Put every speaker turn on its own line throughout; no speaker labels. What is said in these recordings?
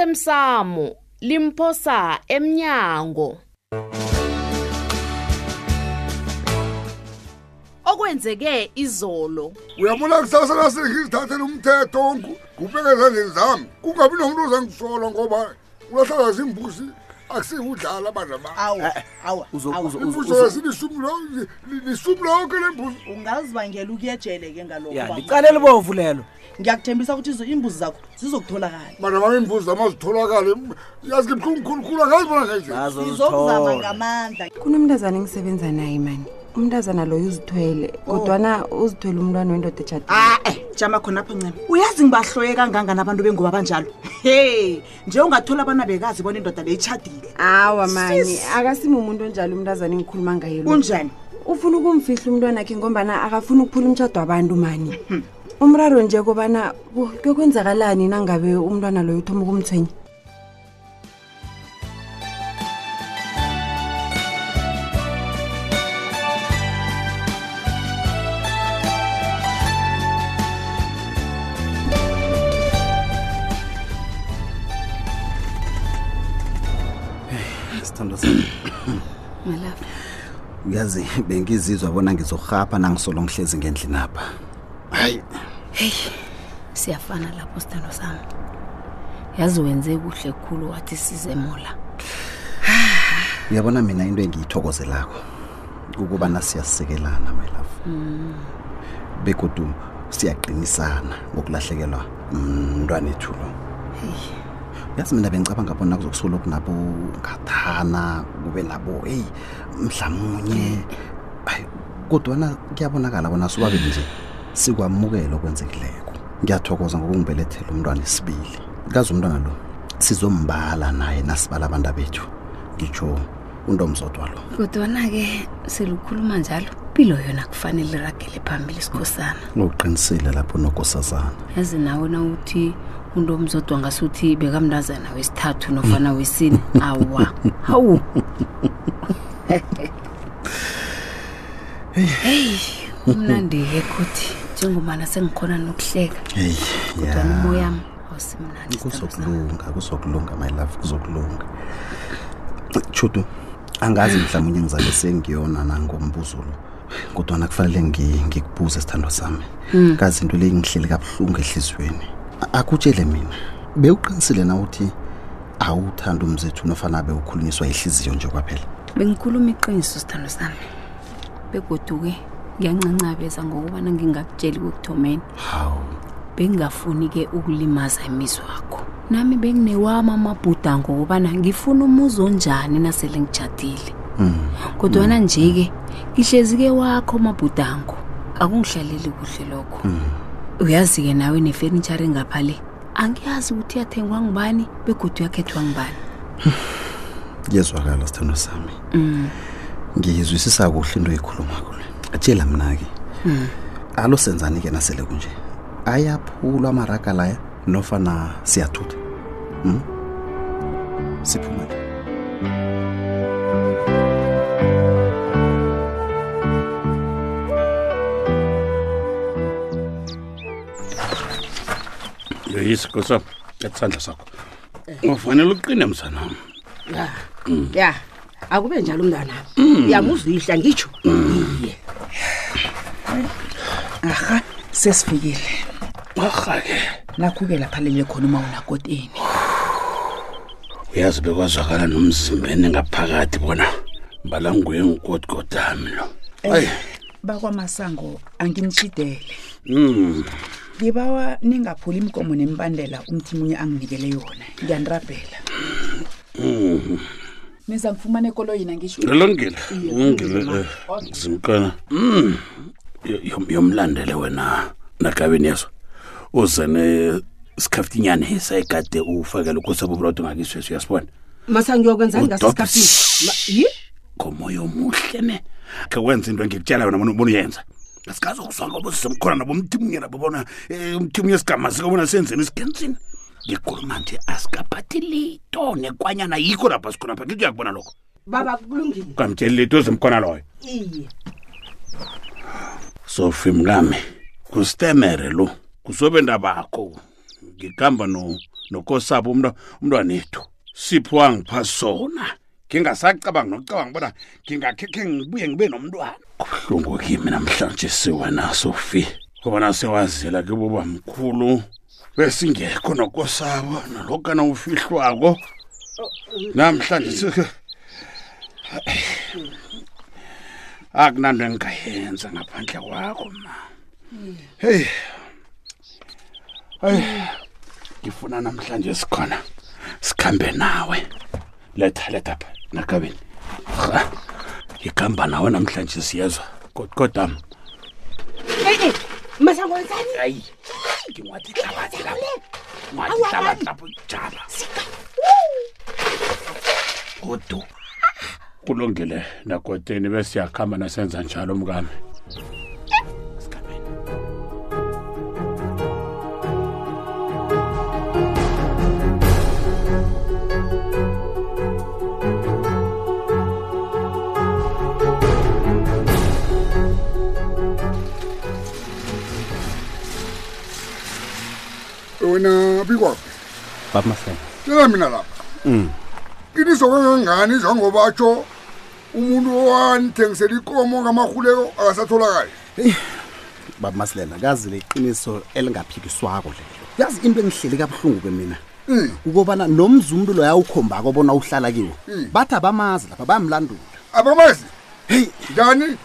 osemsamo limphosa emnyango okwenzeke izolo
uyabona kusasa nasengizithathela umthetho onku kubeka ezandleni zami kungabi nomuntu ozangisola ngoba ulahlala zimbuzi akusingudlala abantu abantu
Eh,
awa awa
Uzo-
awa.
uzo- uzo-
imbuso yesilishumi lonke lembuzi
ungazibangela ukuyejele ke
ya
ngalokho
licale libovu lelo
ngiyakuthembisa ukuthi izo- iimbuzi zakho zizokutholakala
mana bami imbuzi zami azitholakale yazi ngibuhlungu khulukhulu angazibona ngayindlela
nazo
zizokuzama
zithola
ngamandla
kunomntazana engisebenza naye mani umntazana loyo uzithwele kodwana uzithwele umntwana wendoda ejadile
ae Ah, eh, jama khonapho ncema uyazi ngibahloye kangangani abantu bengoba banjalo he nje ungathola abana bekazi bona indoda leyitshadile
awa mani akasimi umuntu onjalo umntazana engikhuluma ngaye lo
kunjani
ufuna ukumfihla umntwana khe ngombana akafuni ukuphula umtshado wabantu mani umraro nje kobana wo, kuyokwenzakalani nangabe umntwana loyo uthoma ukumthwenya
sithando sami uyazi bengizizwa bona ngizohapha nangisolo ngihlezi ngendlini apha hayi
siyafana lapho sithando sami yazi wenze kuhle khulu wathi size mola
uyabona mina into engiyithokozelako ukubana siyasikelana my love
Mm.
begodu siyaqinisana ngokulahlekelwa mntwana ethu lo yazi mina bengicabanga bona kuzokusolo kunabo ngathana kube nabo eyi mhlamunye hayi kodwana kuyabonakala bona sobabili nje sikwamukela okwenzekileko ngiyathokoza ngokungibelethela umntwana esibili kaze umntwana lo sizombala naye nasibala abantu bethu ngitsho untomzodwa lo
kodwana-ke selukhuluma njalo impilo yona kufanele iragele phambili sikhosana
uqinisile lapho nokosazana
yazi nawe nawuthi unto omzodwa ngasuthi bekamntazana wesithathu nofana wesine awa hawu heyi umnandi-ke kuthi njengomana sengikhona nokuhleka
heyi
kodwana umoyami awusimnandi sithandwa sami.
kuzokulunga kuzokulunga my love kuzokulunga chutu angazi mhlawumbe ngizabe sengiyona nangombuzo lo kodwana kufanele ngi- ngikubuze sithandwa sami kazi into leyi ngihleli kabuhlungu ehliziyweni A- akutshele mina bewuqinisile na uthi awuthanda umzethu nofana bewukhulunyiswa ihliziyo nje kwaphela
bengikhuluma iqiniso sithando sami begoduke ngiyancancabeza ngokubana ngingakutsheli kokuthomeni
hawu
bengingafuni-ke ukulimaza imizwa wakho nami benginewami amabhuda ngokubana ngifuna umuzi onjani nasele ngijadile kodwana nje-ke ngihlezi-ke wakho amabhudango akungihlaleli kuhle lokho uyazi-ke nawe nefenitshari ngapha le angiyazi ukuthi yathengwa ngubani begodu yakhethwa ngubani
kuyezwakala sithando sami ngiyizwisisa kuhle into oyikhulumako le atshela mna-ke alo senzani-ke nasele kunje ayaphulwa amaraga laya nofana siyathutha mm? siphuma nje
yoyisiko sam esandla sakho ufanele uqine msanam
ya akube njalo umntwana uyamuzuyihla ngitsho iye
aha sesifikile
warha-ke
nakho-ke lapha lele khona uma unakoteni
uyazi bekwazwakala nomzimbeni ngaphakathi bona mbala nguye ngugodgodami lo ayi
Eh, bakwamasango angimshidele
um
ngibawa ningaphuli imgomo nembandela umthi munye anginikele yona ngiyanirabhela
Hmm.
niza ngifumana ekolo yina ngisho
lolongile ungile zimkana um yomlandele wena nakabeni yeso uze nesikhafinyane sayigade ufakele ukusebubrod ngakisweso uyasibona
masa ngiyokwenzani
Udobhe.
ngasesikhathini
ngomoya omuhle ne khe wenza into engikutshela yona bona bona uyenza asikazokuzwa ngoba sisemkhona nabo umthimunye nabo bona eh, umthimunye esigama sikobona senzeni isigensini ngikhuluma nje asikaphathi lito nekwanyana yikho lapha sikhona pha ngithi uyakubona lokho
baba kulungile
kamtsheli lito ezimkhona loyo
iye
sofi mkami ngustemere lo kusobe ndabakho ngikamba nokosapho umntu umntwanethu siphiwa ngiphasi sona ngingasacabanga nokucabanga bona ngingakhe khe ngibuye ngibe nomntwana kubuhlungu kimi namhlanje siwena sofi ngobana sewazela ke buba mkhulu besingekho nokosabo nolokana ufihlwako namhlanje sikhe akunanto engingayenza ngaphandle kwakho ma heyi hayi ngifuna namhlanje sikhona sikhambe nawe letha letha pha nakabeni ha ngikhamba nawe namhlanje siyezwa Kod- kodwa
masango wenzani
hayi nginwathi hlabathi lapho nwathi hlabathi lapho jaba godu kulungile nakoteni besiyakhamba nasenza njalo mkami
wena bikwaphi
bamasena
tshela mina lapha iliso kangangani njengoba atsho umuntu owanithengisela ikomo ngamarhuleko akasatholakali
baba masilela kazi leqiniso elingaphikiswako lelo yazi into engihleli kabuhlungu ke mina
Mm.
ukubana nomzi umntu loya ukhombako bona uhlala kiwo bathi abamazi lapha bayamlandula
abamazi
heyi
njani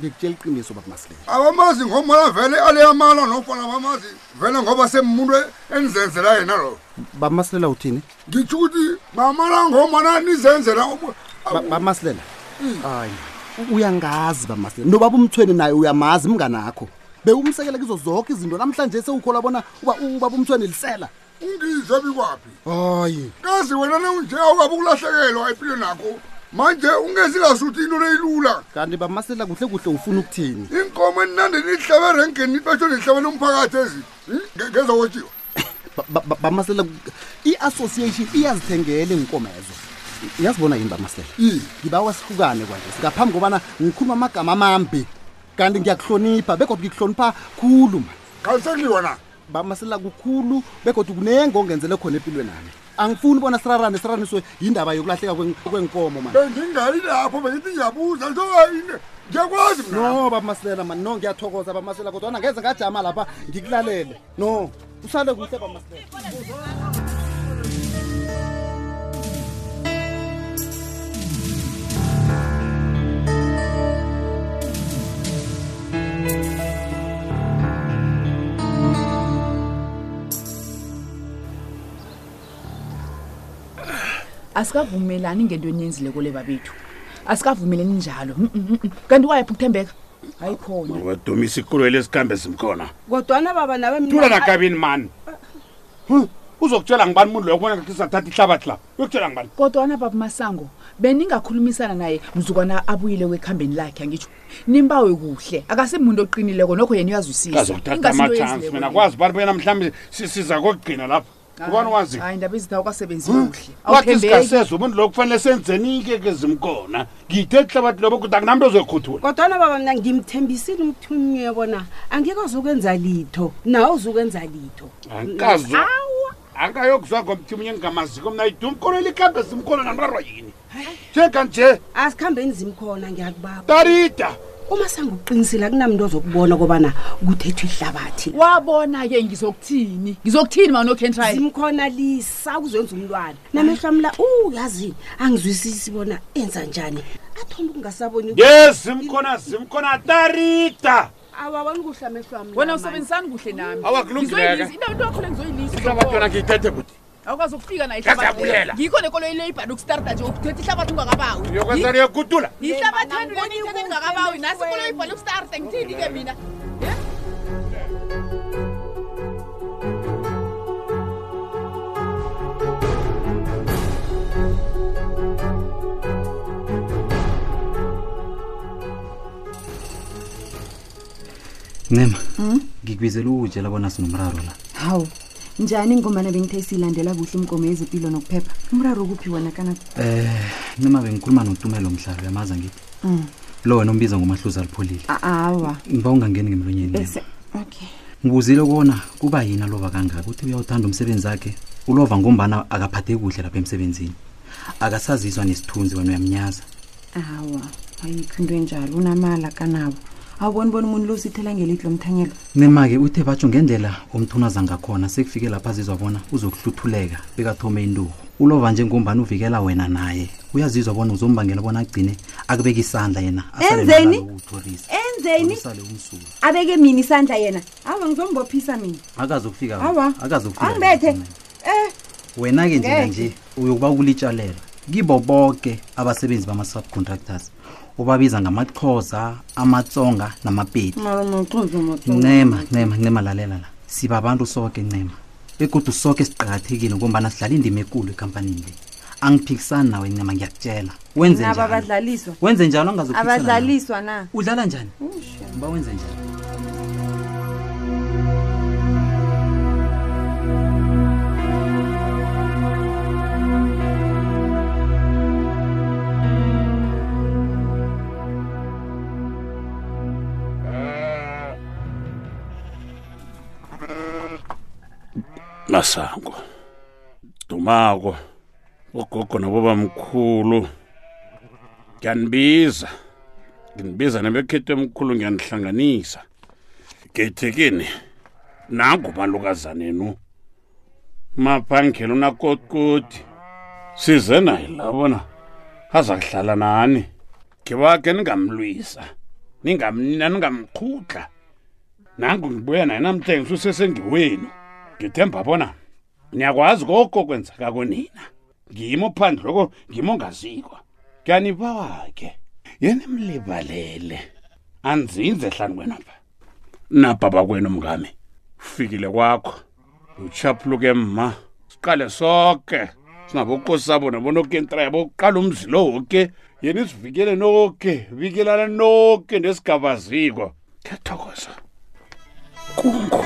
ngikutshela iqiniso baba masilela
abamazi ngomala vele aleyamala nofana abamazi vele ngoba semuntu enizenzela yena lo
baba masilela uthini
ngitsho ukuthi mamala ngomana nizenzela ubu-
Ba- baba masilela hayi Hmm. u- uyangazi baba masilela nobaba umthweni naye uyamazi mnganakho bewumsekela kizo zonke izinto namhlanje sewukholwa bona uba ubaba umthweni lisela
ungizwe bikwaphi
hayi
kazi wena neunje awukabe ukulahlekelwa empilweni yakho manje ungezingasuthi into leyilula
kanti baba masilela kuhle kuhle ufuna ukuthini
inkomo eninande nihlabe erenkeni nibethwe nihlabe lomphakathi ezi hmm? ngezokotshiwa
Ba- ba- ba- bamasela i-association iyazithengele inkomezo yazibona yini bamasela
Iye.
ngibawa sihlukane kwanje ngaphambi kobana ngikhuluma amagama amambi kanti ngiyakuhlonipha begodwa ngikuhlonipha khulu ma
kalisekliwa na
bamasela kukhulu begodwa kunenge ongenzele khona empilweni nami angifuni ubona sirarane siraniswe yindaba yokulahleka kwen- kwenkomo mani
bengingayi lapho bengithi ngiyabuza ntoini ngiyakwazi mna
no bamasilela mani no ngiyathokoza bamasilela kodwana ngeze ngajama lapha ngikulalele no usale kuhle bamasilela
asikavumelani ngento eniyenzileko le babethu asikavumeleni njalo Mm, mm, mm. kanti wayephi ukuthembeka hayi khona
wadumisa ikulweli esikhambe simkhona
kodwana baba nawe
thula nakabini mani Huh, uzokutshela ngibani umuntu loyo kubona ngathi sathatha ihlabathi lapho uyokutshela ngibani
kodwana baba masango beningakhulumisana naye mzukwana abuyile kwekhambeni lakhe angitsho nimbawe kuhle akasemuntu oqinileko nokho yena
kazokuthatha amajansi mina kwazi bani bena mhlawumbe si- siza kokugcina lapha ubani wazi Hm,
indaba ezitha ukasebenzi Ah, kuhle
wathi
Awuthembeki.
sigaseza umuntu lo kufanele senzeni-ke ke zimkona ngithe ehlabathi lobo kuthi akunamntu ozoyikhuthula
kodwana baba mna ngimthembisile umthunye bona angikazukwenza litho nawe uzukwenza litho
ankazo angayokuzwa ngomthi munye engingamaziko mna idumkoleli ikhambe zimkona namrarwa yini njenganje
asikhambeni zimkhona ngiyakubaba
tarida
uma sanguqinisile akunamntu ozokubona kobana kuthethwe ihlabathi
wabona-ke ngizokuthini ngizokuthini manokhentraye
zimkhona lisa kuzenza umntwana namehlo ami la uyazi angizwisisi bona enza njani athombe ukungasaboni
ye zimkona zimkona tarida
awaboni kuhle amehlo ami la
wena
mani.
usebenzisani kuhle nami
Awa, kulungileke.
Ngizoyilisa. Indaba into yakho le
ihlabathi yona
ngizoyilisa
ngiyithethe kuthi
awukwazi ukufika nayo
Yaze
ihlabathi leyo.
yabulela.
ngikho nekolo ile ibhadi ukustarta nje ukuthetha ihlabathi ungakabawi
uyokwenza niyokuthula
ihlabathi wenu leni ithetha engakabawi nasi kolo ibhadi ukustarta ngithini ke mina Eh?
ncema ngikubizela ukutshela bona sinomraro la
hawu njani ngombana bengithe siyilandela kuhle imgomo yezempilo nokuphepha umraro kuphi wona kana
eh ncema bengikhuluma notumelo mhlalo yamaza ngithi
Mm.
lo wena ombiza ngomahluzi alipholile
A- awa
ngiba ungangeni ngemlonyeni
Bese- okay
ngibuzile kona kuba yini aloba kangaka uthi uyawuthanda umsebenzi wakhe ulova ngombana akaphathe kuhle lapha emsebenzini akasazizwa nesithunzi wena uyamnyaza
awa ayikho into enjalo unamala kanabo awuboni bona umuntu lo usithela ngelidlo omthanyelo
nema-ke uthe batsho ngendlela umthunaza ngakhona sekufike lapha azizwa bona uzokutluthuleka bekathome inturhu ulova njengombani uvikela wena naye uyazizwa bona uzombangela bona agcine akubeka isandla yena asale
Enzeni?
nalalo uthorisa.
enzeni
Usale umsulwa
abeke mina isandla yena awa ngizombophisa mina
akazokufika
awa
akazokufika
angibethe eh
wena-ke njena
Ngeke.
nje uyokuba kulitshalela kibo bonke abasebenzi bama-subcontractors ubabiza ngamaxhosa amatsonga namapedi ncema ncema ncema lalela la sibabantu soke ncema begodu soke siqakathekile ngombana sidlala indima ekulu ekampanini le angiphikisani nawe ncema ngiyakutshela wenze
nabo
njalo
abadlaliswa
wenze njalo angazophikisana
abadlaliswa na
udlala njani ba wenze njalo
masango dumako ogogo nabobamkhulu ngiyanibiza nginibiza nebekhethwe emkhulu ngiyanihlanganisa ngethekini nangu balukazanenu maphangela unakotikoti size naye labona aza kuhlala nani ngibake ningamlwisa ningamnina ningamqhudla nangu ngibuya naye namhlanje usesengiwenu ngithemba bona niyakwazi koko kwenzeka konina ngimo phandle loko ngimo ngazikwa kanibawake yena mlibalele anzinze hlani kwena pha nababa kwenu mngami kufikile kwakho uchapuluke ma siqale soke sinabokosabo nabonokentra yabo kuqala umzi lo woke yena isivikele noke vikelana noke nesigaba ziko kuyathokoza kungu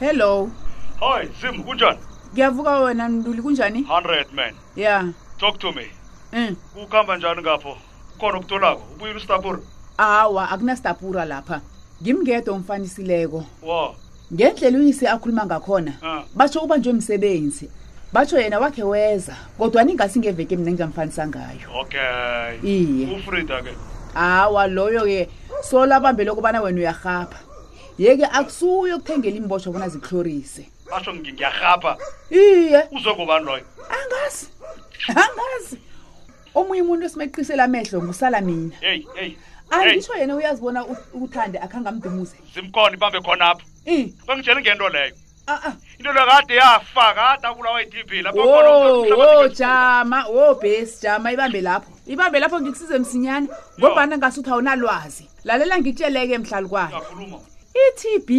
hello
Hi, Zim, kunjani?
ngiyavuka wena mnduli kunjani
100 man.
ya
Talk to me.
um
Ukuhamba njani ngapho? Khona ukutolako. Ubuyile uStapura.
awa akunasitapura lapha ngimngedwa omfanisileko
Wa.
ngendlela uyise akhuluma ngakhona
Ah.
batsho ubanjwe msebenzi batsho yena wakhe weza kodwani ingasi ngeveke mina engingamfanisa ngayo
Okay.
Iye.
UFrida ke.
hawa loyo-ke solo abambe lokubana wena uyarhapha yeke akusuye ukuthengela imbosho bona zikuhlorise
Basho ngi- ngiyagapa.
iye
Uzokubani loyo?
angazi angazi omunye umuntu esimeqisela amehlo ngusala mina
Hey, hey. Hey,
anditsho yena uyazibona u- ukuthande akhange amdumuze
Zimkhona ibambe khona apha.
Mm.
Bangitshela ngento leyo.
Ah ah.
Into leyo kade yafa, kade abulawa iTB lapho
wo
khona
wo, jama wo bhesi jama ibambe lapho ibambe lapho ngikusize msinyane ngobana ngasuthi awunalwazi lalela ngikutsheleke mhlali kwayo
Ukhuluma.
i-tb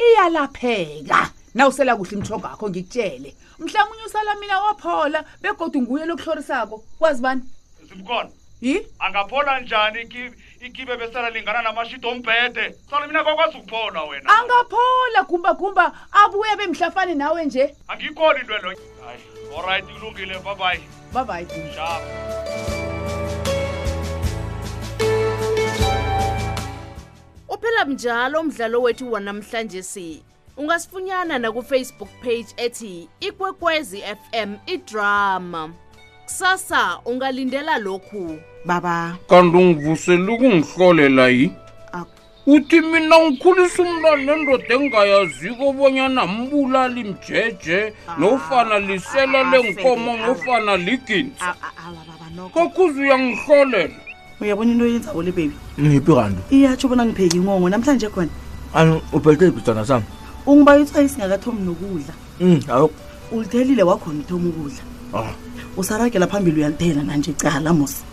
iyalapheka nawusela kuhle imthoga akho ngikutshele mhlawumunye usala mina waphola begodwa nguye lokuhlorisako kwazi bani
Zimkhona.
yi
Angaphola njani ikibe ikibe besala lingana namashito ombhede? Sala mina kwakwazi ukuphola wena.
angaphola gumbagumba abuye bemhlafane nawe nje
Angikholi into leyo. Hayi. All right, kulungile. Bye bye.
babayi
Sharp.
uphela mnjalo umdlalo wethu wanamhlanje si ungasifunyana nakufacebook page ethi ikwekwezi fm idrama kusasa ungalindela lokhu
baba
kanti ungivusela ukungihlolela yi uthi mina ngikhulisa umntwana nendoda engingayaziko obonyana mbulali mjeje nofana lisela lenkomo nofana liginsa kokhuze uyangihlolela
uyabona into oyenzako le bebi
ngiphi kanti
iyatsho bona ngipheki ingongo namhlanje khona
ani uphelethe ibhidana sami
ungibayitswayo singakathomi nokudla
um ayo Ah.
ulithelile wakhona uthoma ukudla usaragela phambili uyalithela nanje cala mos